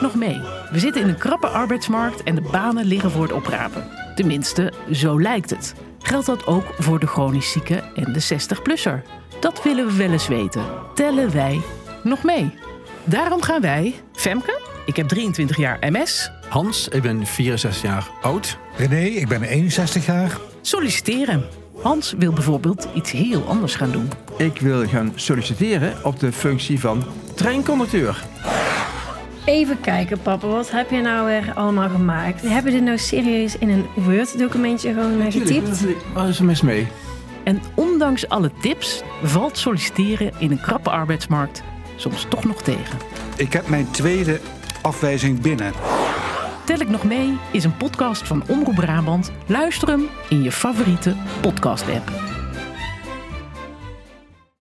nog mee. We zitten in een krappe arbeidsmarkt en de banen liggen voor het oprapen. Tenminste, zo lijkt het. Geldt dat ook voor de chronisch zieke en de 60-plusser? Dat willen we wel eens weten. Tellen wij nog mee? Daarom gaan wij, Femke, ik heb 23 jaar MS, Hans, ik ben 64 jaar oud. René, ik ben 61 jaar. solliciteren. Hans wil bijvoorbeeld iets heel anders gaan doen. Ik wil gaan solliciteren op de functie van treinconducteur. Even kijken, papa, wat heb je nou weer allemaal gemaakt? Hebben we dit nou serieus in een Word-documentje gewoon eh, getypt? Wat is er mis mee? En ondanks alle tips valt solliciteren in een krappe arbeidsmarkt soms toch nog tegen. Ik heb mijn tweede afwijzing binnen. Tel ik nog mee is een podcast van Omroep Brabant. Luister hem in je favoriete podcast-app.